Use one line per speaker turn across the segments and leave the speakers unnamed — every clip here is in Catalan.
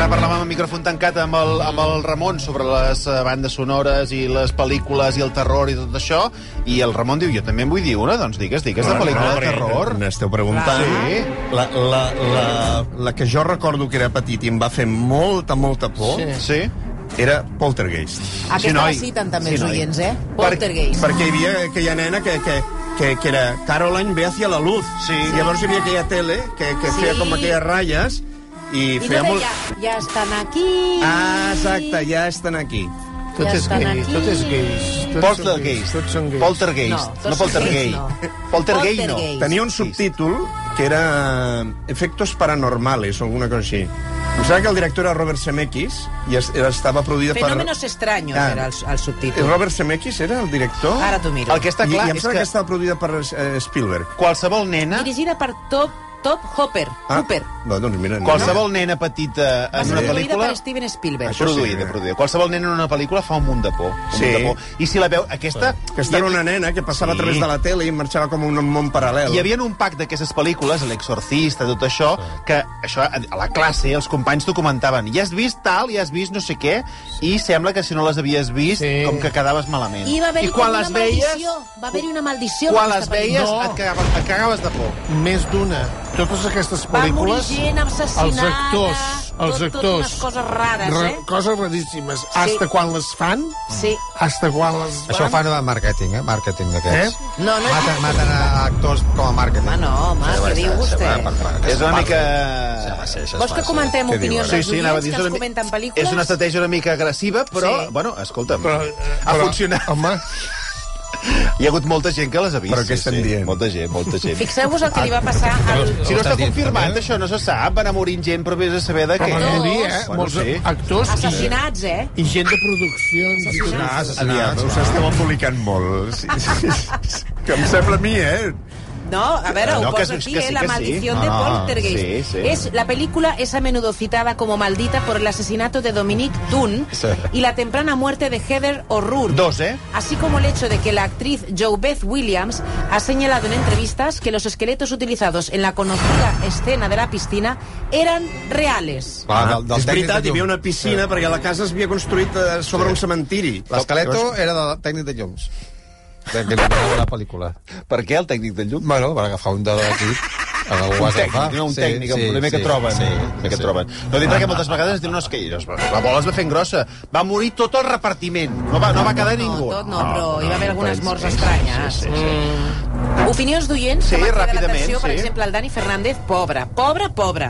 ara parlàvem amb micròfon tancat amb el, amb el Ramon sobre les eh, bandes sonores i les pel·lícules i el terror i tot això, i el Ramon diu, jo també en vull dir una, doncs digues, digues, de pel·lícula de terror.
N'esteu preguntant.
Sí.
La, la, la, la que jo recordo que era petit i em va fer molta, molta por sí.
Sí?
era Poltergeist.
Aquesta
Sí,
sí,
noi.
la citen també
Sí,
els
noi.
oients, eh? Poltergeist. Per,
perquè hi havia aquella nena que, que, que, que era Caroline ve hacia la luz.
Sí.
I llavors hi havia aquella tele que, que
Sí.
feia com aquelles ratlles i,
I
feia
no
molt...
deia, ja estan aquí.
Ah, exacte, ja estan aquí.
Tot
Ja
és
estan
gay,
aquí.
tot és gay. Tots són
Poltergeist.
gays, tots són gays.
No,
Poltergeist. No,
tots són
poltergeist.
gays, no.
Poltergeist no.
Poltergeist.
Tenia un subtítol que era eh, Efectos paranormales o alguna cosa així. Em sembla que el director era Robert Zemeckis i es, era- estava produïda
Fenómenos
per...
extraños
Ah.
era el, el subtítol.
Robert Zemeckis era el director?
Ara t'ho miro.
El que està
I,
clar
I em
és
sembla
que,
que... que estava produïda per eh, Spielberg.
qualsevol nena
Dirigida per Top, Top Hopper. Ah. Hooper.
No, doncs mira, no.
qualsevol nena petita
Va
en
ser
una
produïda
pel·lícula
per Steven Spielberg.
Això sí.
produïda, produïda. Qualsevol nena en una pel·lícula fa un munt de por. Un
Sí.
munt de por. I si la veu... Aquesta...
Aquesta era una nena que passava
Sí.
a través de la tele i marxava com un món paral·lel.
Hi havia un pack d'aquestes pel·lícules, l'exorcista, tot això, que això a a la classe els companys t'ho comentaven. Ja has vist tal, ja has vist no sé què, i sembla que si no les havies vist,
Sí.
com que quedaves malament.
I va haver-hi
quan
com
les
una
veies,
maldició. Va haver-hi una maldició.
quan
amb
les
aquesta
veies
No.
et, cagaves, et cagaves de por.
Més d'una. Totes aquestes
Va morir
pel·lícules...
gent assassinada,
Els actors, els
tot- tot
actors...
unes coses rares, eh?
Coses raríssimes. Hasta quan les fan,
Sí.
hasta quan les fan...
Això ho fan de màrqueting, eh? Màrqueting d'aquests.
Eh?
No, no és-
Maten, maten a actors com a màrqueting.
Home, Ah, no, home,
Se
què
va,
diu
se- se
vostè?
va, per- per- que
És
se
una
parli.
mica...
Se va, se- se
Vols
fa,
que
se-
comentem
què
opinions
diuen?
dels oients que ens comenten pel·lícules?
és una estratègia una mica agressiva, però,
Sí.
bueno, escolta'm,
Però, eh,
ha
però,
funcionat.
Home,
Hi ha hagut molta gent que les ha vist.
Però què estem dient?
Molta gent, molta gent.
Fixeu-vos el que li va passar al...
Si
Ho
no està
estàs dient,
confirmat,
també?
això no se sap. Van a morir gent, però vés a saber de
però
què.
van morir, eh?
Bueno,
Molts
sí.
actors i,
Assassinats, eh?
i gent de produccions. i tot.
Ah, aviam, us esteu embolicant molt. Sí, sí, sí. que em sembla a mi, eh?
No, a ver,
No,
ho
que
poso
sí,
aquí,
que
eh,
sí,
La
que sí.
maldición de
Ah,
Poltergeist.
sí, sí.
Es, la película es a menudo citada como maldita por el asesinato de Dominique Dunn
Sí.
y la temprana muerte de Heather O'Rourke.
Dos, ¿eh?
Así como el hecho de que la actriz Jo Beth Williams ha señalado en entrevistas que los esqueletos utilizados en la conocida escena de la piscina eran reales.
Va,
Ah.
del, del
és
tècnic
veritat,
de
hi havia
llum.
una piscina, perquè la casa s'havia construït eh, sobre un cementiri.
L'esqueleto
Llavors-
era del tècnic de llums. De que li donava la pel·lícula.
Per què el tècnic del llum?
Bueno, van agafar un de l'equip.
Un tècnic, no un tècnic, el primer que troben. el primer que troben. No dic
Ah.
perquè moltes vegades diuen, no, és que la bola es va fent grossa. Va morir tot el repartiment. No va, no va quedar
No,
ningú.
tot no, però hi va haver algunes morts
sí,
estranyes.
Sí,
Mm.
sí, sí.
Opinions d'oients
Sí,
que m'han cridat
ràpidament,
l'atenció, per
sí.
exemple, el Dani Fernández, pobre, pobre, pobre.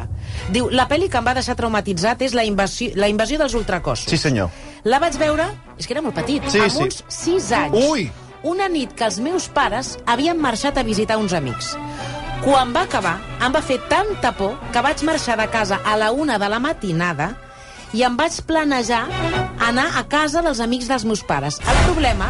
Diu, la pel·li que em va deixar traumatitzat és la invasió, la invasió dels ultracossos.
sí senyor.
La vaig veure, és que era molt petit,
Sí,
amb
sí.
uns 6 anys.
Ui!
Una nit que els meus pares havien marxat a visitar uns amics. Quan va acabar, em va fer tanta por que vaig marxar de casa a la una de la matinada i em vaig planejar anar a casa dels amics dels meus pares. El problema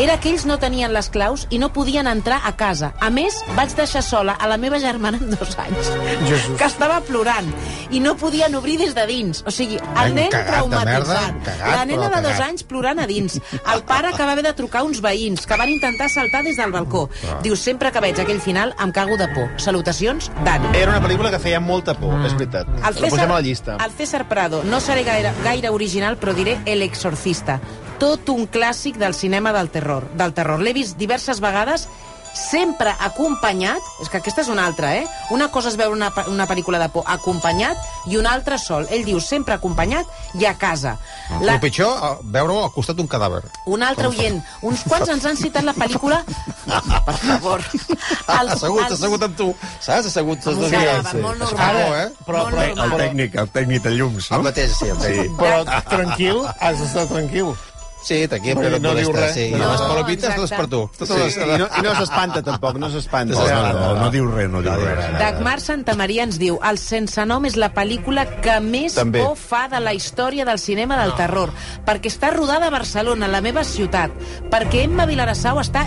era que ells no tenien les claus i no podien entrar a casa. A més, vaig deixar sola a la meva germana amb dos anys,
Jesús.
que estava plorant i no podien obrir des de dins. O sigui, el
Ai,
nen
cagat de
traumatitzat,
merda, cagat,
la nena
però
de dos
cagat.
anys plorant a dins, el pare que va haver de trucar uns veïns que van intentar saltar des del balcó.
Ah.
Diu, sempre que veig aquell final em cago de por. Salutacions, Dani.
Era una pel·lícula que feia molta por, és veritat.
Mm. El
La posem a la llista.
el César Prado, no seré gaire, gaire original, però diré El Exorcista. Tot un clàssic del cinema del terror. Del terror. L'he vist diverses vegades sempre acompanyat, és que aquesta és una altra, eh? Una cosa és veure una, pe- una pel·lícula de por acompanyat i una altra sol. Ell diu sempre acompanyat i a casa.
La... El pitjor, eh, veure-ho al costat d'un cadàver.
Un altre oient. Uns quants ens han citat la pel·lícula... Per
Ah,
favor. Els,
Assegut, assegut amb tu. Saps? Assegut.
Amb un
assegut.
cadàver,
Sí.
molt
Es fa
normal.
por, eh?
Però, però,
El
Ah,
però,
tècnic, el tècnic de llums,
El
no?
mateix, sí, el tècnic.
Però tranquil, has d'estar tranquil.
Sí, tranquil,
Vull
però
dir,
no
no
et
diu
molesta.
res.
Sí,
No,
les palomites
exacte.
les per tu. Totes
Sí,
les...
I no, i no s'espanta, tampoc, no s'espanta.
No,
No, no, no diu res, no diu res.
Ah.
Dagmar Santamaria ens diu El sense nom és la pel·lícula que més
També.
por fa de la història del cinema del terror, perquè està rodada a Barcelona, la meva ciutat, perquè Emma Vilarassau està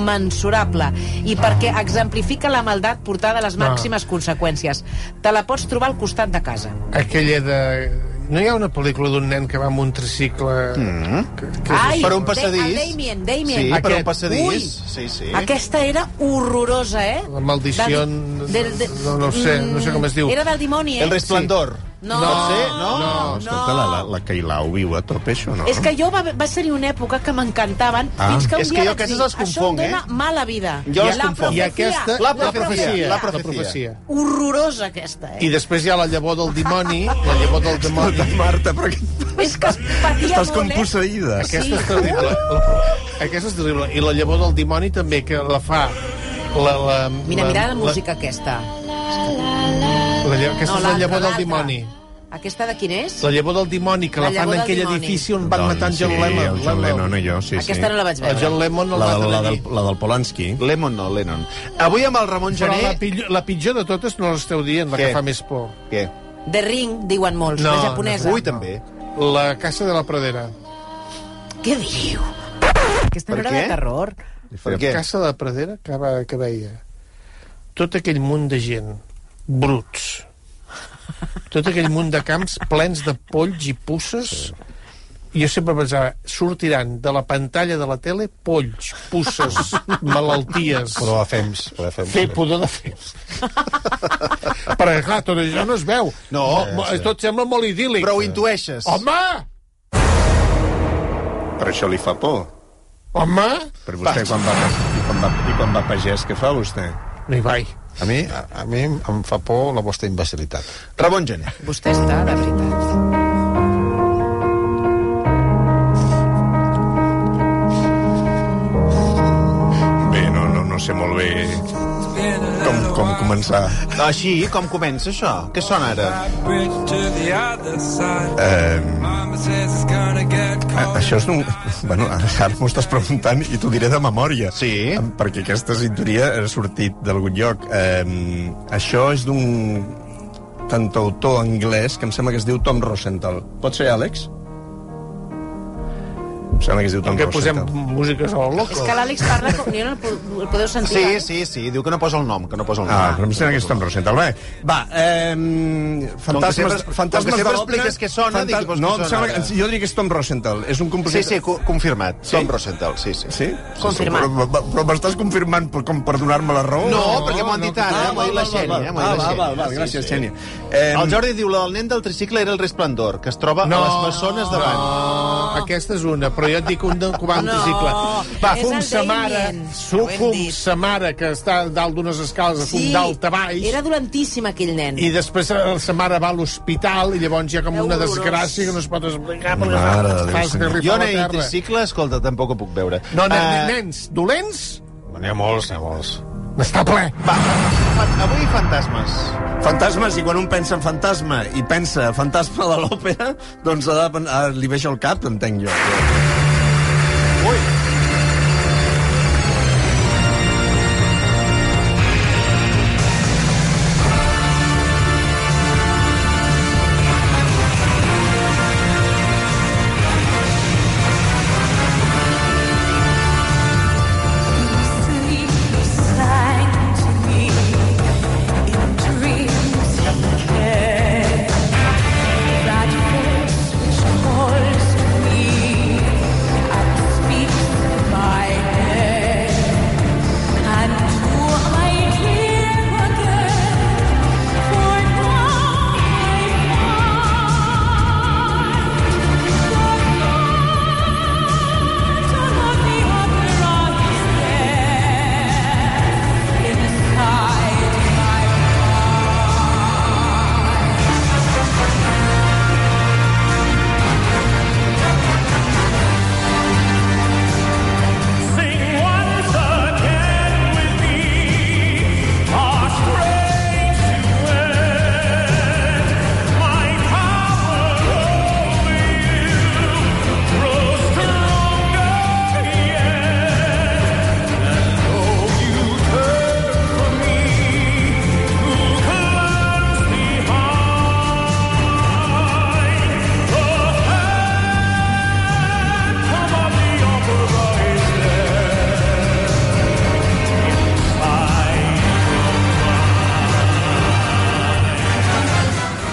incommensurable i perquè exemplifica la maldat portada a
Ah.
les màximes conseqüències. Te la pots trobar al costat de casa.
Aquella de... No hi ha una pel·lícula d'un nen que va amb un tricicle... Mm. Que, que
Ai,
per un passadís.
Da- Damien, Damien.
Sí, per
Aquest.
un passadís.
Ui.
Sí, sí.
Aquesta era horrorosa, eh?
La maldició...
Del- del- del-
No, no ho sé, no sé com es diu.
Era del dimoni, eh?
El resplendor.
No,
Pot ser, no?
no.
Escolta, la, la, la Cailau viu a tope, això, no?
És que jo va, va ser una època que m'encantaven,
Ah.
fins que un
És
dia
que jo
vaig
aquestes
dir,
les confong,
això em dóna
eh?"
mala vida.
Jo les
la
confonc.
I
profecia,
aquesta...
La
la
profecia,
profecia.
la
La profecia.
Horrorosa, aquesta,
I
eh?
després hi ha la llavor del dimoni, la llavor del
Escolta,
dimoni.
Marta, però que...
És que es patia
estàs
molt,
com
eh?
posseïda.
Sí.
Aquesta és terrible. La, la, aquesta és terrible. I la llavor del dimoni també, que la fa... La, la,
Mira, mira la
la
música aquesta.
La, la, llavor- aquesta no, és la
l'altra,
llavor del
l'altra.
dimoni.
Aquesta de quin és?
La llavor del dimoni, que
La
la, fan
llavor
en
del
aquell
dimoni.
edifici on van matar en John
Doncs sí,
Lennon.
el John Lennon i jo, sí,
aquesta
sí.
no la vaig
El
veure.
John Lennon el
La,
maten
del- la,
allí.
del, la del Polanski.
Lemon, no, Lennon. Avui amb el Ramon
Però la,
Gené...
pitjor, la pitjor de totes no l'esteu dient, la
Què?
que fa més por.
Què?
The Ring, diuen molts,
No,
la japonesa.
Avui també.
La Casa de la Pradera.
Què diu? Aquesta
Per
no era
què?
de terror.
Per què?
Casa de la Pradera que, va, que veia tot aquell munt de gent, bruts, tot aquell munt de camps plens de polls i pusses, i jo sempre pensava, sortiran de la pantalla de la tele polls, pusses, malalties,
Però a fems. Però a fems.
fer pudor de fems. Però, clar, tot això no es veu.
No,
Mo- tot sembla molt idíl·lic.
Però ho intueixes.
Home!
Per això li fa por.
Home!
Per vostè, quan va, i quan va, i quan va pagès, què fa vostè?
No hi vaig.
A mi, a, a mi em fa por la vostra imbecilitat.
Ramon Gené.
Vostè està, de veritat.
Bé, no, no, no sé molt bé com, com començar.
Així, com comença això? Què sona ara?
bridge to the other side.
Eh,
Mama says it's gonna get
a-
Ah.
cold.
Ah, això és un... Bueno, ara m'ho estàs preguntant i t'ho diré de memòria.
Sí.
Em- Perquè aquesta cinturia ha sortit d'algun lloc. Eh, això és d'un cantautor anglès que em sembla que es diu Tom Rosenthal. Pot ser, Àlex? Em sembla que es diu
Doncs
Tom
Que posem
Rosenthal.
músiques a la
És
loca.
que l'Àlex parla com... Jo no el, po- el podeu sentir.
Sí,
eh?
sí, sí. Diu que no posa el nom, que no posa el nom.
Ah, però em sembla que és Tom Rosenthal. Bé, va, eh,
Com que
fantasmes,
sempre- com que
fantasmes de
sempre
l'òpera...
expliques què sona,
Fanta-
dic, doncs, què
no, em
sona
sembla que,
ara?
jo diria que és Tom Rosenthal. És un
Sí,
compositor...
sí, co- confirmat.
Sí?
Tom Rosenthal, sí, sí.
Sí?
Confirmat.
Però, però, però m'estàs confirmant per, com per donar-me la raó?
No, perquè m'ho han dit ara, eh?
Ah,
m'ho ha dit la
val,
Xènia,
val, Ah,
m'ho ha dit la
val,
Xènia.
val, val,
Sí,
gràcies,
sí.
Xènia. Eh,
El Jordi diu, el nen del tricicle era el resplendor, que es troba a les maçones davant.
No, aquesta és una, però jo et dic un de- que va amb
No,
tricicle. Va,
és
fum
el
sa mare,
Damien.
su,
Ho hem
fum
dit.
sa mare, que està dalt d'unes escales a fum
Sí,
dalt a baix,
Era dolentíssim, aquell nen.
i després eh, sa mare va a l'hospital, i llavors hi ha com
Era
una
horrorós.
desgràcia que no es pot explicar, perquè
Mare de Déu,
fa, fa
senyor.
Jo
esgarrifar la
nen i
terra.
tricicle, escolta, tampoc ho puc veure.
No, nen,
Eh,
nens, dolents?
N'hi ha molts, n'hi ha molts.
N'està ple.
Va, fa- avui fantasmes.
Fantasmes, i quan un pensa en fantasma i pensa fantasma de l'òpera, doncs ha de, pen- ah, li veig el cap, entenc jo.
That voice which calls to me, I speak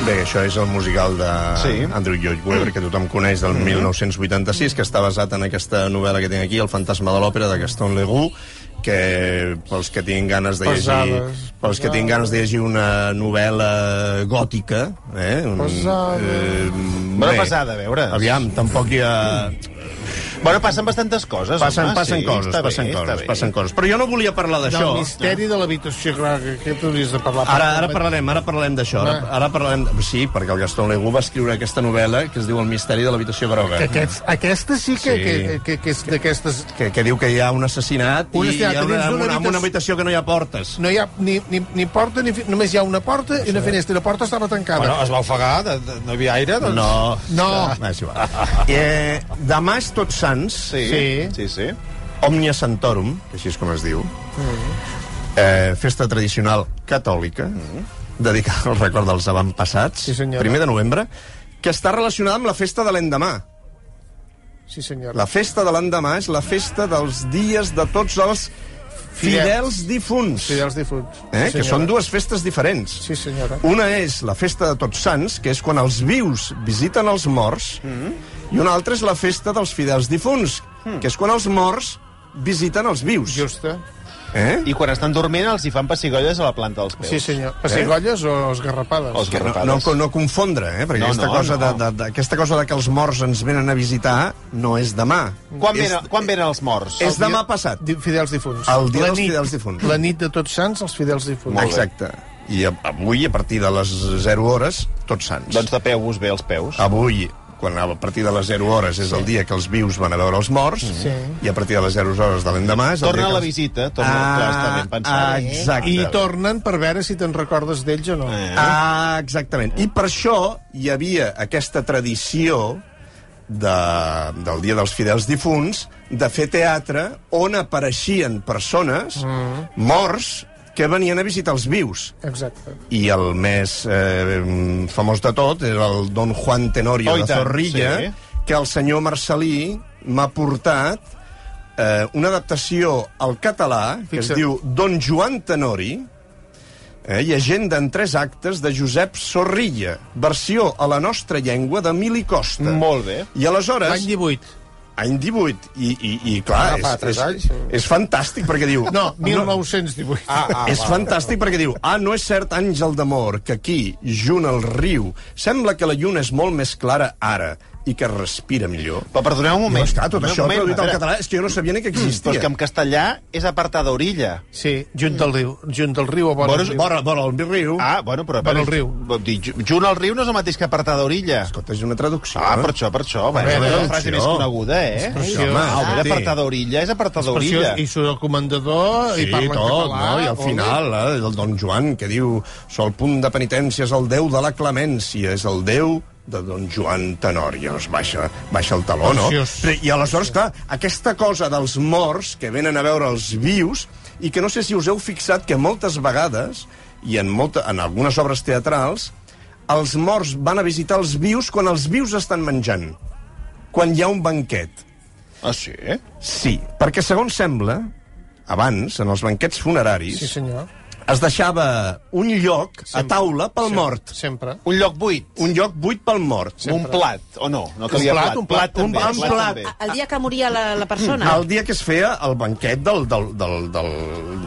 Això és el musical de
Sí.
sí. Andrew Lloyd Webber, que tothom coneix, del
Mm-hmm.
1986, que està basat en aquesta novel·la que tinc aquí, El fantasma de l'òpera, de Gaston Leroux, que pels que tinguin ganes de llegir...
Pesades,
Pels que tinguin ganes de llegir una novel·la gòtica... Eh? Un,
Pesades.
eh,
Bona
bé,
pesada, a veure.
Aviam, tampoc hi ha...
Bueno, passen bastantes coses.
Passen,
home,
passen
sí,
coses,
està bé,
passen
està
coses,
bé.
passen coses. Però jo no volia parlar
Del
d'això.
misteri de l'habitació, clar, que aquest hauries de parlar.
Ara, ara parlarem, ara parlarem d'això. Ara,
Ah.
ara parlarem... Sí, perquè el Gaston Leroux va escriure aquesta novel·la que es diu El misteri de l'habitació groga.
Que Aquest, aquesta sí que,
Sí.
sí. que, que, que és d'aquestes...
que, que diu que hi ha un assassinat
Un
i hi
assassinat,
ha una,
dins d'una
una, amb una habitació
habitació-
que no hi ha portes.
No hi ha ni, ni, ni porta, ni, fi- només hi ha una porta
eh?
i una finestra. I la porta estava tancada.
Bueno, es va ofegar, de, de, no hi havia aire, doncs...
No.
No.
Ah, és igual. Eh, demà és Tots Sants,
Sí, sí,
Sí.
sí. sí.
Omnia Santorum, que així és com es diu, eh, festa tradicional catòlica, dedicada al record dels avantpassats,
Mm. Sí, senyora.
primer de novembre, que està relacionada amb la festa de l'endemà.
Sí, senyor.
La festa de l'endemà és la festa dels dies de tots els fidels difunts.
Fidels difunts.
Eh?
sí,
que
senyora.
són dues festes diferents.
Sí, senyora.
Una és la festa de Tots Sants, que és quan els vius visiten els morts, mm -hmm. i una altra és la festa dels fidels difunts, mm. que és quan els morts visiten els vius.
Justa.
Eh?
I quan estan dormint els hi fan pessigolles a la planta dels peus.
Sí, senyor. Pessigolles o esgarrapades?
O
Que no,
esgarrapades.
no, no confondre, eh? perquè
No,
no, aquesta,
no,
no, cosa
no.
no. De, de, aquesta cosa de que els morts ens venen a visitar no és demà.
Quan,
és,
venen, quan venen els morts?
És demà passat.
Di- Fidels difunts.
El dia
La
dels
nit-
fidels difunts.
La nit de tots sants, els fidels difunts.
Exacte. I a- avui, a partir de les 0 hores, Tots Sants.
Doncs de peu us ve els peus.
avui quan a partir de les 0 hores és el dia que els vius van a veure els morts
Sí.
i a partir de les 0 hores de l'endemà és el
Torna
dia que
la
els-
visita, torna, clar, està ben pensat.
doncs Ah, Exacte.
I tornen per veure si te'n recordes d'ells o no.
Eh.
Ah, exactament. I per això hi havia aquesta tradició de, del Dia dels Fidels Difunts de fer teatre on apareixien persones mm. morts que venien a visitar els vius.
Exacte.
i el més eh, famós de tot era el Don Juan Tenorio
Oh, i
de
tant,
Zorrilla,
sí.
que el senyor Marcelí m'ha portat eh, una adaptació al català que
Fixa't.
es diu Don Joan Tenori, eh, i agenda en tres actes de Josep Sorrilla, versió a la nostra llengua d'Emili Costa.
Molt bé.
I aleshores...
L'any 18.
Any 18. I, i, i clar,
Ah, fa
és,
tres
és,
anys.
és fantàstic, perquè diu...
No, 1918. Ah,
Ah, és fantàstic perquè diu Ah, no és cert, àngel d'amor, que aquí, junt al riu, sembla que la lluna és molt més clara ara i que respira millor.
Però perdoneu un moment.
No, esclar, tot
Un
això
moment,
traduït
a
al
veure,
català Mm, és que jo no sabia ni que
Però és
existia.
que en castellà és apartada orilla.
Sí, junt al riu, junt al riu o vora
Vora-
el riu.
Vora, vora, el riu. Ah.
Ah, bueno, però... a
Per
veure,
al riu.
vol dir, ju- Junt al riu no és el mateix que apartada orilla.
Escolta, és una traducció. eh?
Ah, per això, per això. Bueno,
veure,
és la frase
això.
més coneguda, eh?
per això,
home,
home,
ah,
sí.
apartada orilla és apartada orilla.
Preciós, I surt el comandador
Sí,
i parla en
tot,
català.
no? I al
Ole.
final, eh, el don Joan, que diu «Sol punt de penitència és el déu de la clemència, és el déu de don Joan Tenori». Llavors baixa, baixa el taló, no?
Preciós.
Però- I aleshores, clar, aquesta cosa dels morts que venen a veure els vius i que no sé si us heu fixat que moltes vegades, i en, molta, en algunes obres teatrals, els morts van a visitar els vius quan els vius estan menjant, quan hi ha un banquet.
Ah, sí?
Sí, perquè segons sembla, abans, en els banquets funeraris,
Sí, senyor.
es deixava un lloc a taula pel mort.
Sempre.
Un lloc buit.
Un lloc buit pel mort.
Un plat, o no? No calia
Un plat,
plat.
un plat,
un-
també,
un plat.
també.
El dia que moria la, la persona.
El dia que es feia el banquet del... Del, del, del,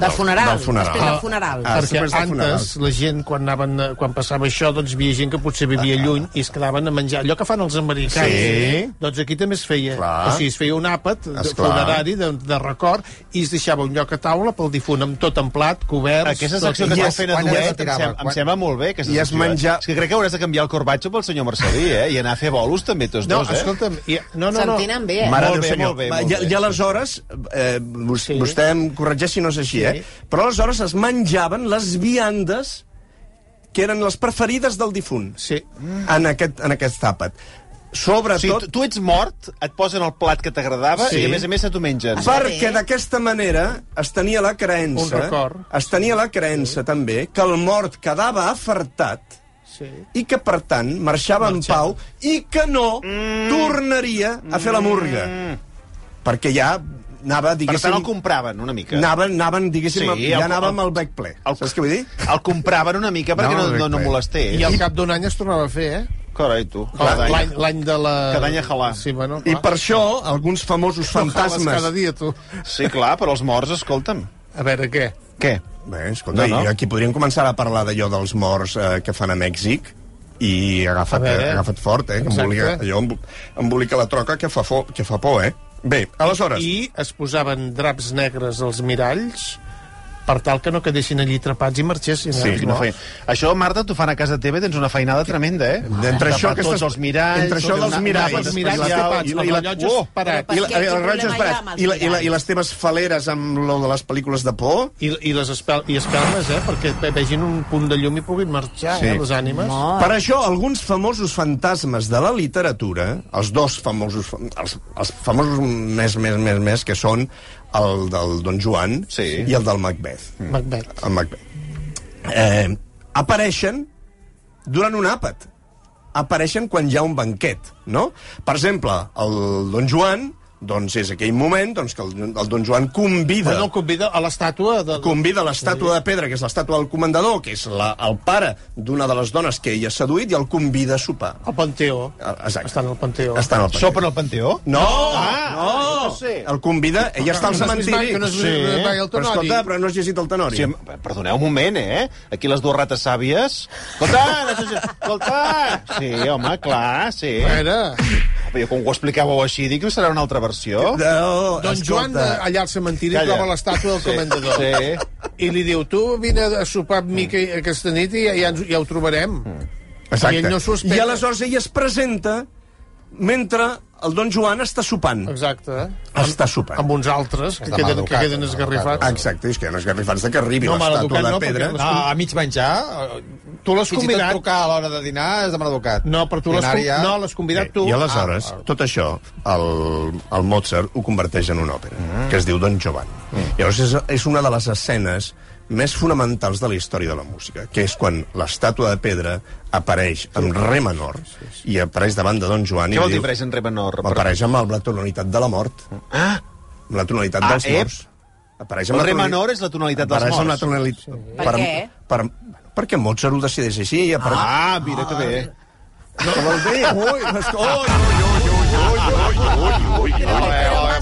Del funeral,
Del funeral.
després del funeral.
Ah,
Perquè
després del funeral.
antes, la gent, quan, anaven, eh, quan passava això, doncs hi havia gent que potser vivia lluny i es quedaven a menjar. Allò que fan els americans,
Ah, Sí.
doncs aquí també es feia.
Clar.
O sigui, es feia un àpat de-
Esclar.
funerari, de, de record, i es deixava un lloc a taula pel difunt, amb tot en plat, coberts...
Aquesta
tot.
secció que
I
esteu
es-
fent a
quan
duet
es
em,
retirava,
sembla, em
quan-
sembla molt bé. Aquesta
I es
secció, eh?
menja-
És que crec que hauràs de canviar el corbatxo pel senyor Marcelí, eh? I anar a fer bolos també tots
No,
dos, eh?
escolta'm, i, no, no, no.
S'entenen bé, eh?
Mare
Molt
Déu
bé,
senyor.
molt bé,
Va,
molt
I,
bé.
I aleshores, eh, vos,
Sí.
sí. vostè em corregeix si no és així, sí. eh? Però aleshores es menjaven les viandes que eren les preferides del difunt
Sí.
en, aquest, en aquest àpat.
O sigui,
Sobretot...
tu, tu ets mort, et posen el plat que t'agradava
Sí.
i, a més a més, se t'ho mengen.
Fa-
Perquè d'aquesta manera es tenia la creença...
Un record.
Es tenia la creença, també, que el mort quedava afartat
sí.
i que, per tant, marxava en pau
Mm.
i que no tornaria a fer la murga. Perquè ja anava,
Per
diguéssim...
tant, el compraven una mica.
Anaven, anaven, diguéssim,
Sí,
sí, ja
el-
anàvem
el-
al bec ple.
el-
Saps què vull dir?
El compraven una mica perquè no,
No,
no, no,
bé.
molestés.
I al cap d'un any es tornava a fer, eh?
Carai, tu. Cada any.
L'any l'any de la...
Cada any a jalar.
Sí, bueno,
I
clar.
per això, alguns famosos
Jales
fantasmes...
cada dia, tu.
Sí, clar, però els morts, escolta'm.
A veure, què?
Què?
Bé, escolta,
No,
no,
no.
no. aquí podríem començar a parlar d'allò dels morts eh, que fan a Mèxic i agafat,
A veure.
eh, agafat fort, eh? Que
Exacte.
embolica, allò embo- embolica la troca que fa, fo, que fa por, eh? Bé, aleshores... I...
I es posaven draps negres als miralls per tal que no quedessin allí atrapats i marxessin.
Sí,
eh?
Quina feina. Això, Marta, t'ho fan a casa teva i tens una feinada tremenda, eh?
Entre això,
Tapar tots
aquestes-
els miralls...
entre això
tot
dels
una-
miralls,
una-
Els miralls
i la-
tapats,
i la-
els
i la-
rellotges
oh! I,
parats.
Però
la, i,
per què hi ha
les
un
ratlles
problema ja amb
barats,
els
i, la, i, la,
miralls?
i les teves faleres amb lo de les pel·lícules de por
I, i les espel i espelmes, eh? Perquè ve- vegin un punt de llum i puguin marxar,
Sí.
sí. eh, les ànimes. No.
Per això, alguns famosos fantasmes de la literatura, els dos famosos, fa- els, els famosos més, més, més, més, que són el del Don Joan
Sí.
i el del Macbeth.
Macbeth.
El Macbeth. Eh, apareixen durant un àpat. Apareixen quan hi ha un banquet, no? Per exemple, el Don Joan, doncs és aquell moment doncs, que el, el Don Joan convida
Però no el convida a l'estàtua de...
convida l'estàtua de pedra, que és l'estàtua del comandador, que és la, el pare d'una de les dones que ell ha seduït, i el convida a sopar.
Al Panteó.
Ah, exacte.
Estan al Panteó.
Està en el
Sopen al panteó?
No!
Ah,
no!
ah, jo què sé.
El convida... Ell està al
No has vist
cementiri.
mai- no has vist
Sí.
mai el
Però
Tenori?
escolta, però no has llegit el Tenori.
Sí, em- perdoneu un moment, eh? Aquí les dues rates sàvies... Escolta, no sé si... Escolta! Sí, home, clar, sí.
A veure,
Però jo, com ho explicàveu així, dic que serà una altra versió.
No,
Don Joan eh, allà al cementiri
Calla.
troba l'estàtua del
Sí,
comandador.
sí.
I li diu, tu vine a sopar amb mi que- aquesta nit i ja, ja, ens, ja ho trobarem.
Mm. Exacte.
I ell no sospita.
I aleshores ell es presenta mentre el Don Joan està sopant.
Exacte.
Està sopant.
Amb uns altres que,
Està
queden, que
maleducat,
queden
està
esgarrifats.
maleducat.
Exacte, és que no és garrifats de que arribi
No,
l'estàtua
maleducat
de
no,
pedra.
perquè
No, a mig menjar... eh,
Tu l'has
Fins i tot
convidat.
trucar a l'hora de dinar és de mal educat.
No, però tu l'has
Dinar ja-
con- no, l'has convidat tu.
Eh, I aleshores,
Ah,
tot això, el, el Mozart ho converteix en una òpera,
Mm.
que es diu Don Giovanni. Llavors és, és una de les escenes més fonamentals de la història de la música, que és quan l'estàtua de pedra apareix en re menor i apareix davant de Don Joan
Què
i
vol
li
dir
diu...
Breix en re menor?
Apareix amb la tonalitat de la mort. Ah! Amb la tonalitat
Ah,
dels
ep.
morts. Apareix
El re
tonali-
menor és la tonalitat dels
Apareix amb la
morts.
tonalitat...
Per què?
Per, perquè Mozart ho decideix així. I apareix...
Ah, mira que bé.
No, vol dir? Ui, les... ui, ui, ui, ui, ui, ui, ui, ui, ui.
criatures.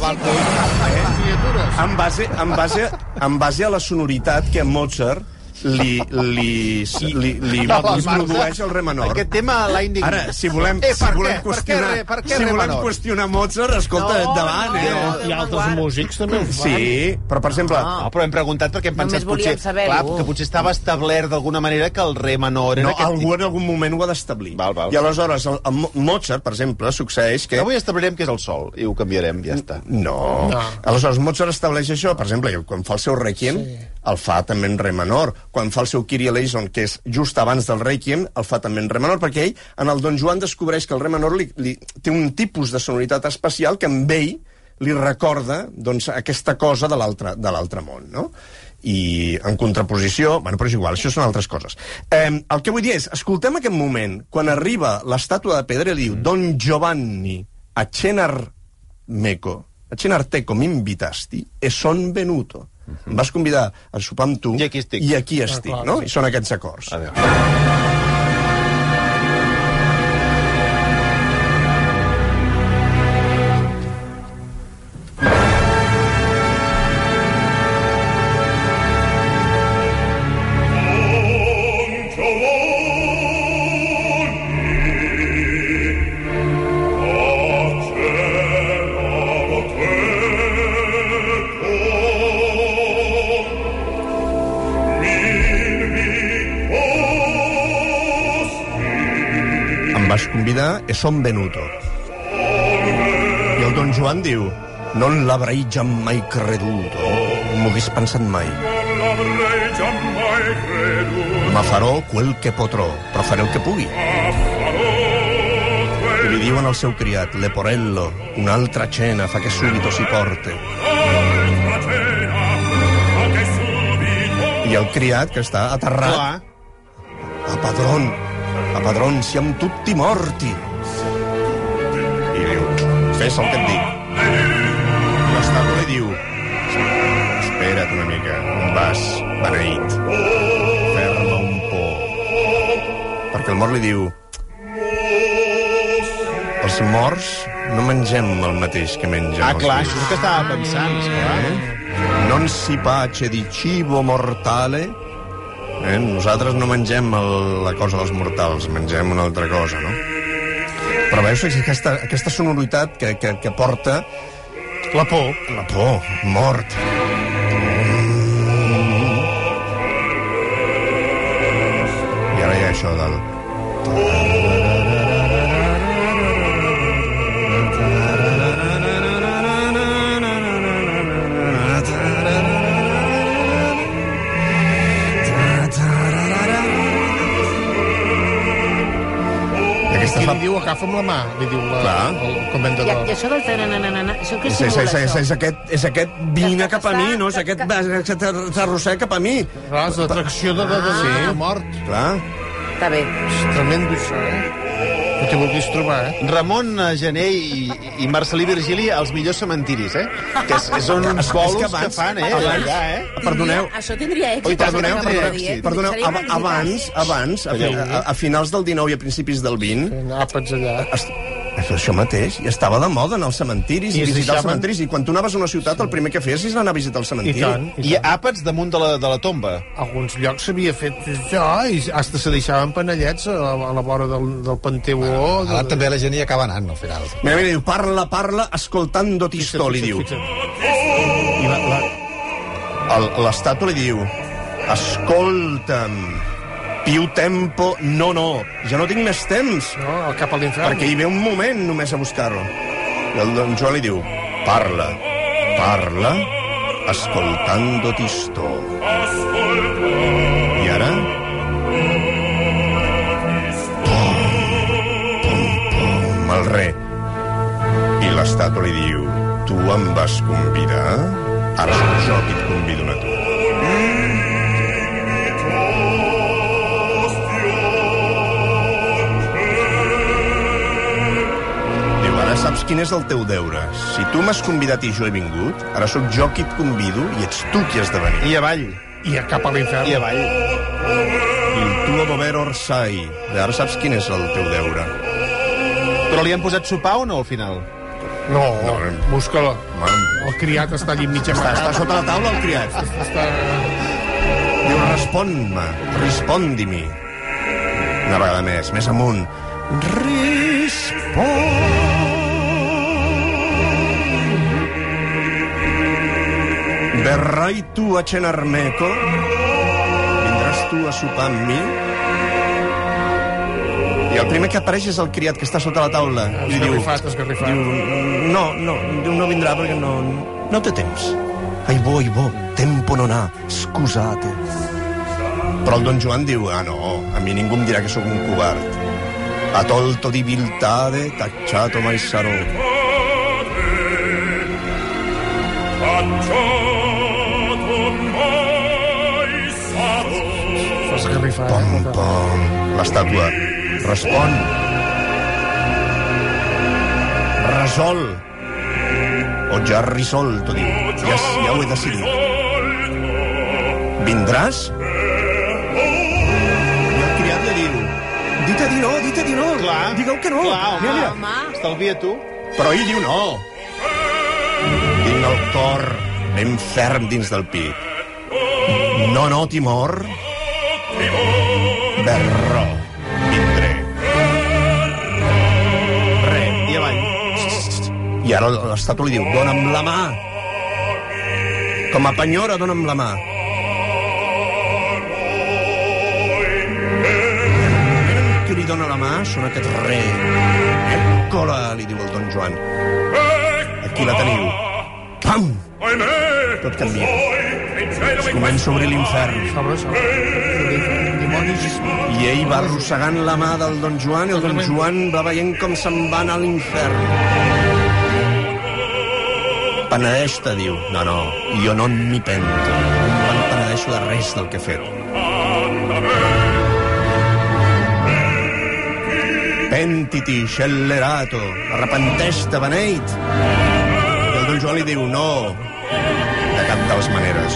En base, en, base, en base a la sonoritat que Mozart li, li, li, li, li, li produeix el re menor.
eh? Aquest tema, Lightning...
Ara, si volem,
Eh, per
si volem
què?
qüestionar,
Per què, per què
si
re
volem
menor?
qüestionar Mozart, escolta,
No,
endavant,
no,
eh?
no.
ah. I altres músics també ho fan.
Sí, però per exemple,
No, però hem preguntat perquè hem
Ah. Només
pensat
volíem
potser,
saber-ho.
clar, que potser estava establert d'alguna manera que el re menor era
no,
aquest
algú en algun moment ho ha d'establir.
Val, val.
I aleshores, el, el Mo- Mozart, per exemple, succeeix que...
Avui establirem que és el sol i ho canviarem, ja està.
No. no. Aleshores, Mozart estableix això, per exemple, que quan fa el seu Requiem, sí. el fa també en re menor. Quan fa el seu Kyrie eleison, que és just abans del Requiem, el fa també en re menor, perquè ell, en el Don Joan, descobreix que el re menor li, li, té un tipus de sonoritat especial que amb ell li recorda doncs, aquesta cosa de l'altre de l'altre món, no? i en contraposició... Bueno, però és igual, això són altres coses. Eh, el que vull dir és, escoltem aquest moment, quan arriba l'estàtua de pedra i diu mm. Don Giovanni a Cenar Meco, a Cenarteco m'invitasti e son venuto. Em vas convidar a sopar amb tu
Mhm. I aquí estic.
i aquí estic,
clar,
no? I són aquests acords.
A veure.
Em vas convidar e son venuto. I el don Joan diu non l'avrei già mai creduto, no m'ho hagués pensat mai.
l'avrei già mai creduto
Ma farò quel che potrò, però faré el que pugui.
farò
I
quel
li diuen al seu criat, Leporello, un'altra cena fa che subito si porte.
altra cena ma che subito
I el criat, que està aterrat,
Clar.
A padrón, a padrón, siam tutti morti. I diu, fes el que et dic. I l'estàtua li diu... Espera't una mica, un vas beneït. Fer-me un por. Perquè el mort li diu... Els morts no mengem el mateix que mengen
Ah,
els
clar,
vius."
això és el que estava pensant, esclar.
Eh? Non si pace di cibo mortale. Eh? Nosaltres no mengem el, la cosa dels mortals, mengem una altra cosa, no? Però veus és aquesta, aquesta sonoritat que, que, que porta
La por.
la por, mort. I ara hi ha això del... I Aquesta
Qui
és
li
la...
diu agafa'm la mà, li diu la,
Clar.
el
I,
comendador.
I això del tananana, això què
És, és, és,
simula,
és,
això?
és, aquest, és aquest vine cap a mi, no? És aquest, aquest arrossec cap a mi.
Clar, és l'atracció de, de, de, de,
Sí.
de mort.
Clar.
Està bé.
És tremendo, això, eh? No t'hi vulguis trobar, eh?
Ramon eh, Gené i, i Marcelí Virgili, els millors cementiris, eh? Que és, és són uns
És que
bolos que,
abans-
fan, eh?
abans-
Allà, eh?
Perdoneu,
Això tindria èxit.
Ui, perdoneu,
això que
perdoneu,
acabo de dir, eh?
perdoneu
Seria
ab
magnífic.
abans, abans a, fi- a, a finals del 19 i a principis del 20,
Fent àpats allà.
es, això mateix, i estava de moda anar als cementiris i,
I
visitar
es
els
deixaven-
cementiris, i quan tu anaves a una ciutat el primer que feies és anar a visitar el
I
cementiri.
tant, i
I
tant.
àpats damunt de la, de la tomba.
Alguns llocs s'havia fet això i hasta se deixaven panellets a la, a la vora del, del Panteó.
Ara
de,
també la gent hi acaba anant, al final.
Mira, mira, diu, parla, parla, ascoltando tisto, li diu. I la- la- el- L'estàtua li diu, escolta'm, più tempo, no, no, ja no tinc més temps,
No, el cap a l'infern.
perquè hi ve un moment només a buscar-lo. I el don Joan li diu, parla, parla, ascoltando tisto. I ara... Pum, pum, pum, el rei. I l'estàtua li diu, tu em vas convidar? Ara sóc jo qui et convido a tu. Diu, ara saps quin és el teu deure. Si tu m'has convidat i jo he vingut, ara sóc jo qui et convido i ets tu qui has de venir.
I avall,
I a cap a l'infern.
i avall.
Il tuo dover orsai. Ara saps quin és el teu deure.
Però li han posat sopar o no, al final?
No,
No.
busca-la.
Man,
El criat està allà mig
està,
amagat.
està sota la taula el criat.
Està...
Diu, respon-me, respondi-mi. Una vegada més, més amunt. Respon. Verrai tu a cenar meco? Vindràs tu a sopar amb mi? I el primer que apareix és el criat que està sota la taula. I li diu,
Esgarrifat, esgarrifat.
diu, no, no, diu, no vindrà perquè no, no té temps. Ai, bo, ai, bo, tempo non ha, scusate. Però el don Joan diu, ah, no, a mi ningú em dirà que sóc un covard. Atolto di viltade, tacciato mai sarò.
Facciato mai sarò
Esgarrifat.
Pom, pom. L'estàtua respon. Resol. O ja risolto, diu. Ja, ja ho he decidit. Vindràs? I el criat li diu... Dita di no, dita di no.
Clar.
Digueu que no.
Clar, home.
mira, mira.
Home,
Estalvia tu.
Però ell diu no. Tinc el cor ben ferm dins del pit. No, no, Timor. Timor. Berro. Vindré. Re.
I avall.
I ara l'estàtua li diu, dona'm la mà. Com a penyora, dona'm la mà. Qui li dona la mà són aquests re. Eccola, li diu el don Joan. Aquí la teniu. Pam!
Ahimè
Tot canvia.
Poi che il cielo mi
Comença a obrir l'infern.
Sobre, sobre. Dimonis.
I ell va arrossegant la mà del don Joan i el don Joan va veient com se'n va anar a l'infern. Penedeix-te, diu. No, no, jo no m'hi pento. No em penedeixo de res del que he fet. Pentiti, scellerato, arrepenteix-te, beneit. I el don Joan li diu, no, cap de les maneres.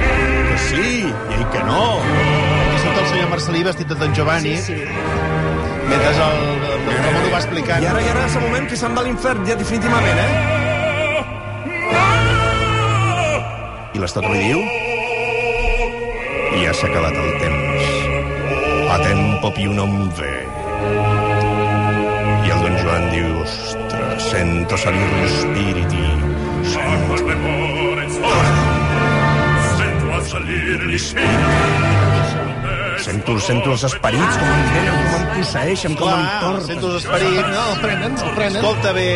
Que sí, i ell que no.
Aquí surt el senyor Marcelí vestit de Don Giovanni,
Sí, sí.
mentre el, el, el Ramon ho va explicant.
I ara, i ara, és el moment que se'n va a l'infern, ja definitivament, eh? I l'estat li diu... Ja s'ha acabat el temps. A tempo più non ve. I el don Joan diu... Ostres, sento salir gli spiriti. Sento...
Quante more sono, sento a salire gli spiriti.
Sento, sento els esperits, com em venen, com em posseeixen, com em
Clar,
porten.
sento els esperits. No, el prenen, el prenen. Escolta bé.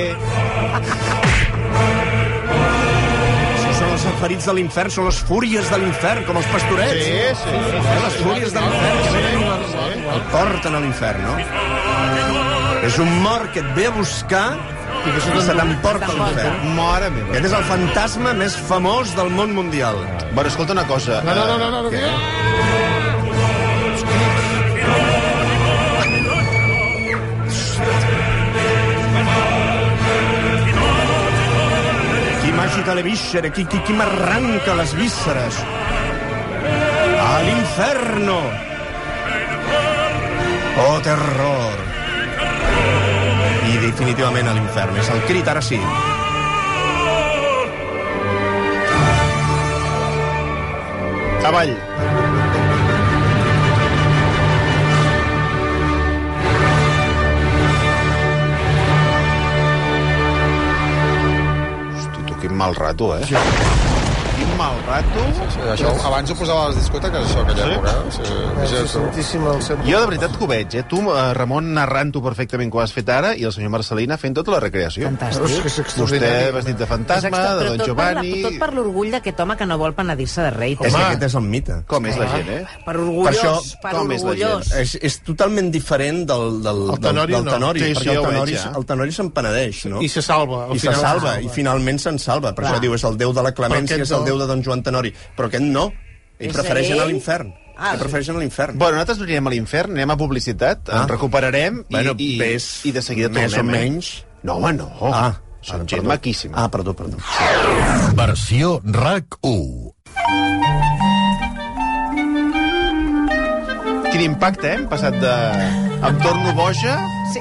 Si són els esperits de l'infern, són les fúries de l'infern, com els
Sí,
pastorets.
sí.
Eh, les fúries de l'infern que venen, el porten a l'infern, no? És un mort que et ve a buscar i se t'emporta a l'infern.
Mare meva.
Aquest és el fantasma més famós del món mundial.
Bueno, escolta una cosa.
No, no, no, no, no, no, no.
Qui m'agita le viscere, qui, qui, qui m'arranca les vísceres. A l'inferno! Oh, terror! I definitivament a l'infern. És el crit, ara sí.
Avall. Hosti, tu, quin mal rato, eh? Sí. Quin mal rato.
Això, abans ho posava a les discoteques, això, aquella època. eh? Sí, sí,
És
sí, sí.
santíssim el Sant
Jo de veritat que ho veig, eh? Tu, eh, Ramon, narrant-ho perfectament que ho has fet ara i el senyor Marcelina fent tota la recreació.
Fantàstic.
És que és
Vostè
extraordinari.
vestit de
És
fantasma,
extra-
de
però
Don
tot per la-
Giovanni...
Tot per l'orgull d'aquest home que no vol penedir-se de rei.
És que aquest és el mite.
Com és la gent, eh?
Per orgullós, per,
això,
com és la Eh,
orgullós.
És, és totalment diferent del, del,
El Tenorio
del, del
no.
tenori,
Sí, sí,
perquè
ja ho
el,
veig,
tenori,
ja.
el tenori se'n penedeix, no?
I se salva. al
I se
final
salva, i finalment se'n salva. Per això diu, és el déu de la clemència,
Però
és
aquest
el
no.
déu de Don Joan Tenori. Però aquest no. Ell
És
prefereix
ell?
anar a l'infern.
Ah,
Ell prefereix anar a l'infern.
Bueno, nosaltres no anirem a l'infern, anem a publicitat, ah.
Ah.
ens recuperarem
Bueno,
i, i,
ves
i de seguida tornem.
més o menys.
Eh? No, home, no.
Ah,
Som
ah,
gent
perdó.
maquíssima.
Ah, perdó, perdó.
Versió RAC1.
Quin impacte, eh? Hem passat de... Em torno boja
Sí.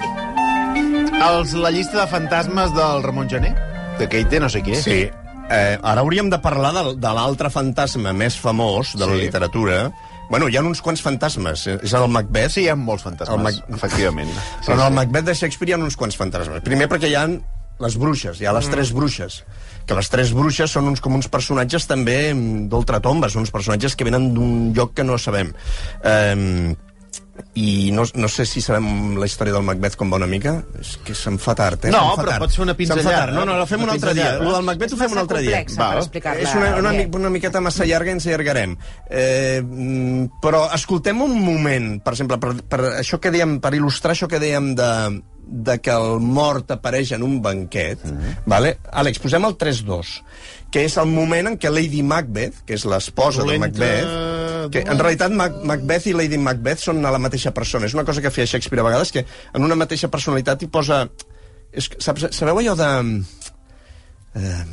als la llista de fantasmes del Ramon Gené. De que ell té no sé qui és.
Sí. Eh, ara hauríem de parlar de, de l'altre fantasma més famós de la
Sí.
literatura. Bueno, hi ha uns quants fantasmes. És el Macbeth.
Sí, hi ha molts fantasmes,
El
Mac...
Mac-
efectivament.
Sí, Però en el Macbeth de Shakespeare hi ha uns quants fantasmes. Primer perquè hi ha les bruixes, hi ha
Mm.
les tres bruixes que les tres bruixes són uns, com uns personatges també mm, d'ultratombes, uns personatges que venen d'un lloc que no sabem. Um, I no, no sé si sabem la història del Macbeth com va una mica. És que se'n fa tard, eh?
No,
Se'm fa
però
tard.
pots fer una
Se'm fa
pinzellada,
tard. No, no, la fem
una
un altre dia.
pinzellada.
El del Macbeth ho Doncs fem un altre dia.
complexa eh,
Va.
per explicar-la.
És una, una,
bé.
mi- una miqueta massa llarga i ens allargarem. Eh, mm, però escoltem un moment, per exemple, per, per, això que dèiem, per il·lustrar això que dèiem de, de que el mort apareix en un banquet.
Mhm.
vale? Àlex, posem el 3-2, que és el moment en què Lady Macbeth, que és l'esposa de
Dolenta,
Macbeth, que en
dolenta.
realitat Mac Macbeth i Lady Macbeth són a la mateixa persona. És una cosa que feia Shakespeare a vegades, que en una mateixa personalitat hi posa... És, que- saps, sabeu allò de... Eh,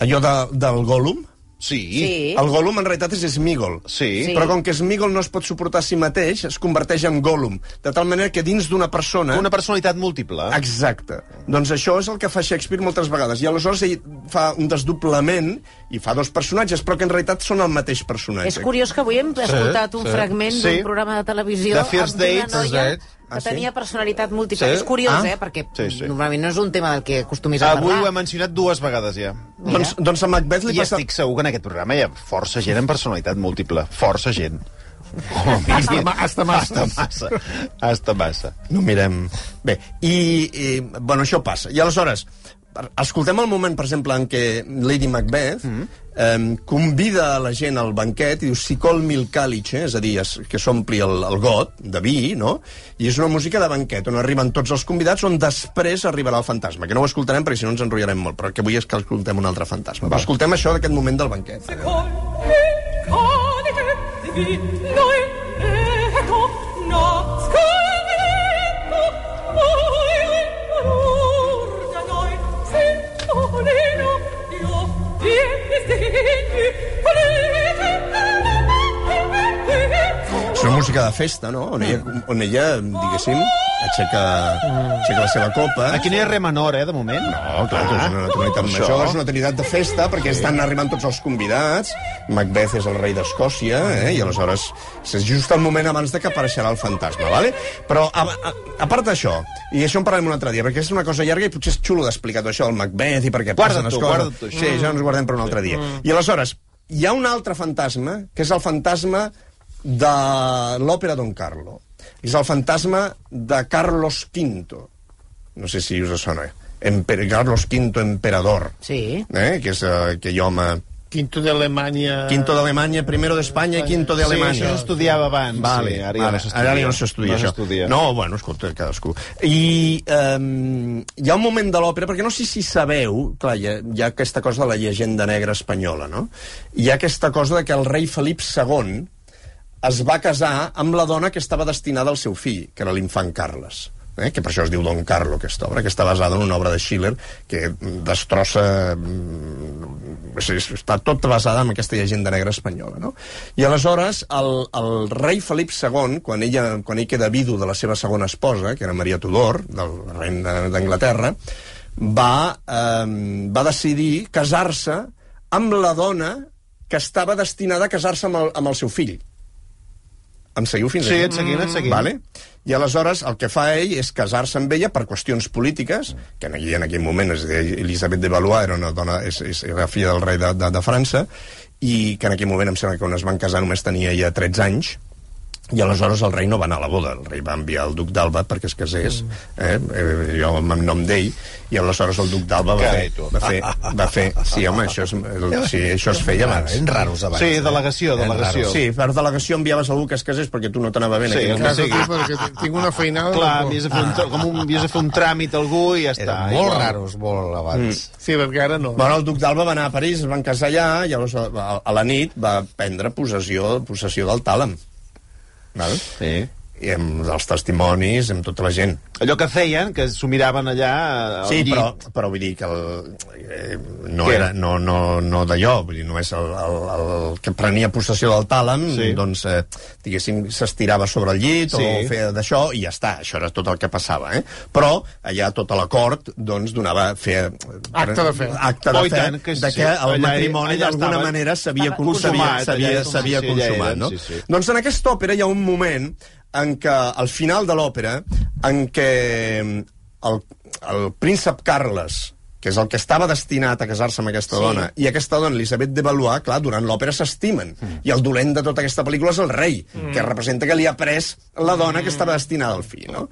allò de, del Gollum?
Sí.
Sí.
El Gollum en realitat és Smigol.
Sí.
Sí.
Però com que Smigol no es pot suportar a si mateix, es converteix en Gollum. De tal manera que dins d'una persona...
Una personalitat múltiple.
Exacte. Doncs això és el que fa Shakespeare moltes vegades. I aleshores ell fa un desdoblament i fa dos personatges, però que en realitat són el mateix personatge.
És curiós que avui hem escoltat un
sí.
fragment d'un
Sí.
programa de televisió
The First
amb una
Dates.
noia
First Date.
que
Ah, sí?
tenia personalitat múltiple.
Sí?
És curiós,
Ah.
eh? Perquè
Sí, sí.
normalment no és un tema del que acostumis a
Avui ho he
parlar.
mencionat dues vegades ja.
Doncs, doncs a Macbeth li
I
passa...
estic segur que en aquest programa hi ha força gent amb personalitat múltiple. Força gent.
Hasta ma- hasta massa.
Hasta massa. Hasta massa.
No mirem... Bé, i, i bueno, això passa. I aleshores, per- escoltem el moment, per exemple, en què Lady Macbeth mm -hmm. eh, convida a la gent al banquet i diu si colmi el càlice, eh?" és a dir, es, que s'ompli el, el got de vi, no? I és una música de banquet on arriben tots els convidats on després arribarà el fantasma, que no ho escoltarem perquè si no ens enrotllarem molt, però el que vull és que escoltem un altre fantasma. Però escoltem això d'aquest moment del banquet.
Konige, vi nøye, kom, nå skal vi
És una música de festa, no? On ella, on ella diguéssim, aixeca, aixeca la seva copa.
Aquí no hi ha re menor, eh, de moment.
No, clar, ah, és una tonalitat
Això.
major, és una tonalitat de festa, perquè estan arribant tots els convidats. Macbeth és el rei d'Escòcia, eh? i aleshores és just el moment abans de que apareixerà el fantasma, ¿vale? Però, a, a, a part d'això, i això en parlarem un altre dia, perquè és una cosa llarga i potser és xulo d'explicar tot això, el Macbeth i per què
Guarda't
passen les
tu,
coses. Mm.
guarda't tu, això.
Sí, ja ens ho guardem per un altre dia. I aleshores, hi ha un altre fantasma, que és el fantasma de l'òpera Don Carlo. És el fantasma de Carlos V. No sé si us sona. Emper Carlos V, emperador.
Sí.
Eh? Que és eh, aquell home...
Quinto d'Alemanya...
Quinto d'Alemanya, primero d'Espanya i quinto
Sí,
d'Alemanya.
això s'estudiava abans.
Vale,
sí,
ara, ara, ara, ja no s'estudia,
no
això.
s'estudia.
No, bueno, escolta, cadascú. I um, hi ha un moment de l'òpera, perquè no sé si sabeu, clar, hi ha, hi ha aquesta cosa de la llegenda negra espanyola, no? Hi ha aquesta cosa de que el rei Felip II es va casar amb la dona que estava destinada al seu fill, que era l'infant Carles. Eh? que per això es diu Don Carlo, aquesta obra, que està basada en una obra de Schiller que mm, destrossa... mm, és- és- Està tot basada en aquesta llegenda negra espanyola, no? I aleshores, el, el rei Felip II, quan, ella, quan ell queda vidu de la seva segona esposa, que era Maria Tudor, del regne d'Anglaterra, va, eh, va decidir casar-se amb la dona que estava destinada a casar-se amb, el, amb el seu fill. Em seguiu fins
Sí,
aquí?
et seguim, et seguim.
Vale? I aleshores el que fa ell és casar-se amb ella per qüestions polítiques, que en, en aquell moment és de Elisabet de Valois era una dona, és, és, era filla del rei de, de, de França, i que en aquell moment em sembla que quan es van casar només tenia ella 13 anys, i aleshores el rei no va anar a la boda, el rei va enviar el duc d'Alba perquè es casés, eh, eh, jo en nom d'ell, i aleshores el duc d'Alba va,
Carai,
fer,
tu.
va, fer, va fer... Sí, home, això, és, el, sí, això es feia abans.
Eren raros abans.
Sí, delegació,
Eren raros.
delegació.
Sí, per delegació enviaves algú que es casés perquè tu no t'anava bé. en
Sí,
aquell
el que
moment.
Casa
sigui.
tu, perquè tinc una feinada...
Clar,
de por.
havies de fer un, tr- com un, havies de fer un tràmit a algú i ja està.
Eren molt
Igual.
raros, molt abans.
Sí, perquè ara no.
Bueno, el duc d'Alba va anar a París, es van casar allà, i llavors a, a- a la nit va prendre possessió, possessió del tàlem. Val?
Mm, Sí.
I amb els testimonis, amb tota la gent.
Allò que feien, que s'ho miraven allà al
Sí,
llit.
però, però vull dir que el, eh, no
Què?
era no, no, no d'allò, vull dir, només el, el, el que prenia possessió del tàlem, sí.
Sí.
doncs, eh, diguéssim, s'estirava sobre el llit sí. o
Sí.
feia d'això i ja està, això era tot el que passava, eh? Però allà tota la cort, doncs, donava, feia...
Acte de fe.
Acte de
Oh, i
fe,
tant, que
de
sí.
que el
Allà-
matrimoni
allà
d'alguna
estava-
manera s'havia
estava
consumat,
consumat,
s'havia
allà
s'havia
consumat, sí, allà
consumat,
eren,
no?
sí, sí.
Doncs en aquesta òpera hi ha un moment en què, al final de l'òpera, en què mm, el, el príncep Carles, que és el que estava destinat a casar-se amb aquesta sí. dona, i aquesta dona, Elisabet de Valois, clar, durant l'òpera s'estimen. Mm. I el dolent de tota aquesta pel·lícula és el rei, mm. que representa que li ha pres la dona que estava destinada al fill, no?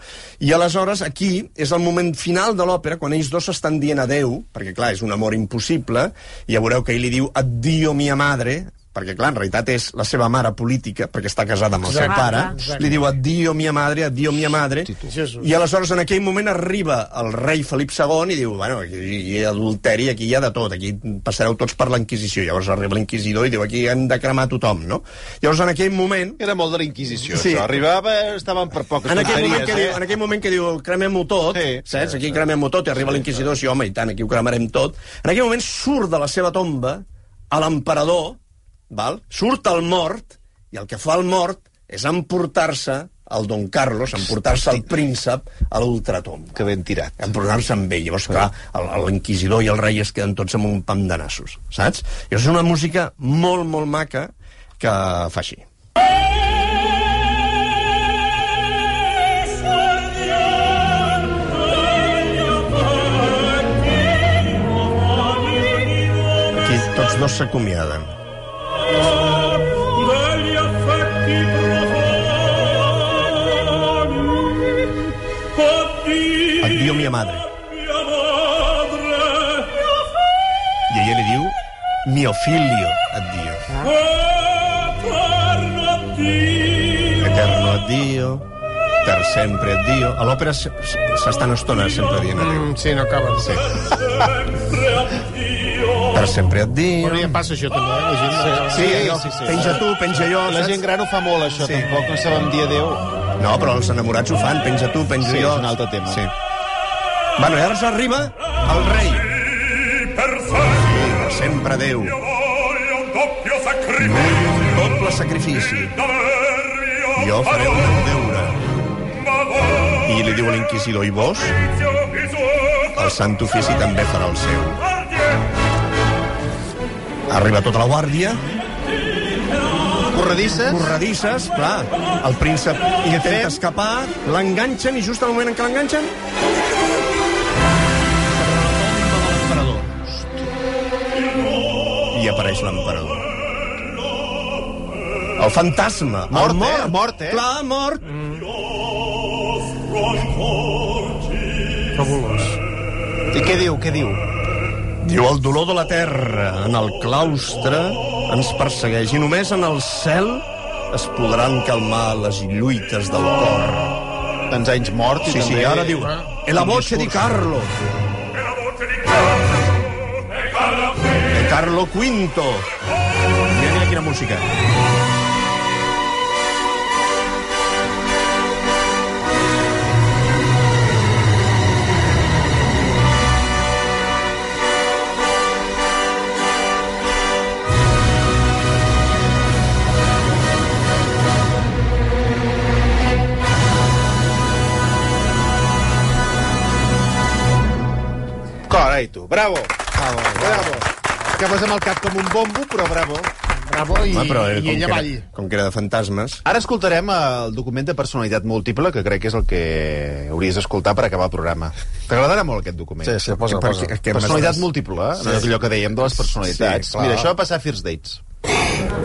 I aleshores, aquí és el moment final de l'òpera, quan ells dos s'estan dient adeu, perquè, clar, és un amor impossible, i ja veureu que ell li diu addio mia madre, perquè, clar, en realitat és la seva mare política, perquè està casada amb el seu
Exacte,
pare,
exacte.
li diu addio mia madre, addio mia madre,
Jesús.
i aleshores en aquell moment arriba el rei Felip II i diu, bueno, aquí hi ha adulteri, aquí hi ha de tot, aquí passareu tots per la Inquisició, llavors arriba l'inquisidor i diu, aquí hem de cremar tothom, no? Llavors en aquell moment...
Era molt de la Inquisició,
Sí.
sí. això. Arribava, estaven per poques
En aquell, moment que diu, en
eh?
aquell moment que diu cremem-ho tot, sí,
Sí.
saps? Aquí cremem-ho tot i arriba sí, l'inquisidor, sí, home, i tant, aquí ho cremarem tot. En aquell moment surt de la seva tomba a l'emperador, val? surt el mort, i el que fa el mort és emportar-se el don Carlos, emportar-se el príncep a l'ultratomba
Que ben tirat.
emportar-se amb ell. Llavors, clar, el- l'inquisidor i el rei es queden tots amb un pam de nassos, saps? I és una música molt, molt maca que fa així. Aquí tots dos s'acomiaden. Addio mia madre. I ella li diu mio figlio, addio. Eterno addio, per sempre addio. A l'òpera s- s- s'estan estona sempre dient addio.
Mm, sí, no acaben. Sí.
Per sempre addio.
Però ja passa això també, eh? la gent...
Sí, sí, sí.
Penja tu, penja jo,
La gent gran ho fa molt, això,
Sí.
sí. tampoc no sabem dir adéu.
No, però els enamorats ho fan, penja tu, penja
Sí,
jo.
és un altre tema.
Sí. Bueno, i ara arriba el rei. Per sempre Déu. Doble sacrifici.
Jo
Jo faré el meu deure. I li diu a l'inquisidor, i vos? El Sant Ofici també farà el seu. Arriba tota la guàrdia,
Corredisses?
corredisses, clar, el príncep intenta escapar, l'enganxen i just al moment en què l'enganxen... I apareix l'emperador. El fantasma.
Mort,
el mort.
eh? Mort, eh?
Clar, mort. Mm. Fabulós.
I què diu, què diu?
Diu, el dolor de la terra en el claustre ens persegueix i només en el cel es podran calmar les lluites del cor.
Tants anys mort i
Sí,
també...
sí, ara diu, e la voce di Carlo, de Carlo V. Mira, mira quina música.
Carai, tu. Bravo. Bravo. bravo. Acabes amb el cap com un bombo, però bravo.
Bravo i,
Home, però, eh,
i ella
que
avall.
era, com que era de fantasmes...
Ara escoltarem eh, el document de personalitat múltiple, que crec que és el que hauries d'escoltar per acabar el programa. T'agradarà molt aquest document.
Sí, sí, posa,
Per-
posa.
que- que
Personalitat
m'estàs-
múltiple, eh? Sí. Allò que dèiem de les personalitats.
clar.
Mira, això va passar a First Dates.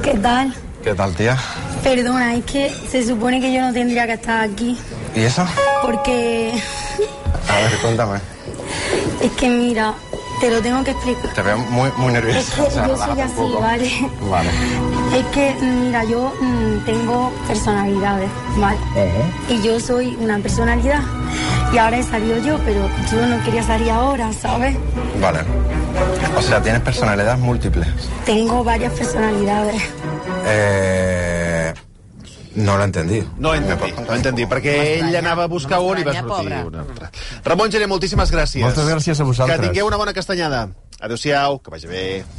¿Qué tal?
¿Qué tal, tía?
Perdona, es que se supone que yo no tendría que estar aquí.
¿Y eso?
Porque
A ver,
eh.
cuéntame.
es que mira, te lo tengo que explicar.
Te veo muy, muy
Es que
nerviosa. O sea,
yo soy
relájate un
así,
poco.
¿vale?
Vale.
Es que, mira, yo mm, tengo personalidades, ¿vale? Y yo soy una personalidad. Y ahora he salido yo, pero yo no quería salir ahora, ¿sabes?
Vale. O sea, tienes personalidades múltiples.
Tengo varias personalidades.
Eh... No lo he entendido.
No ho entendí, no ho entendí, perquè ell anava a buscar
no
un i va
m'estranya,
sortir un
pobre.
altre. Ramon Gené, moltíssimes gràcies.
Moltes gràcies a vosaltres.
Que tingueu una bona castanyada. Adéu-siau, que vagi bé.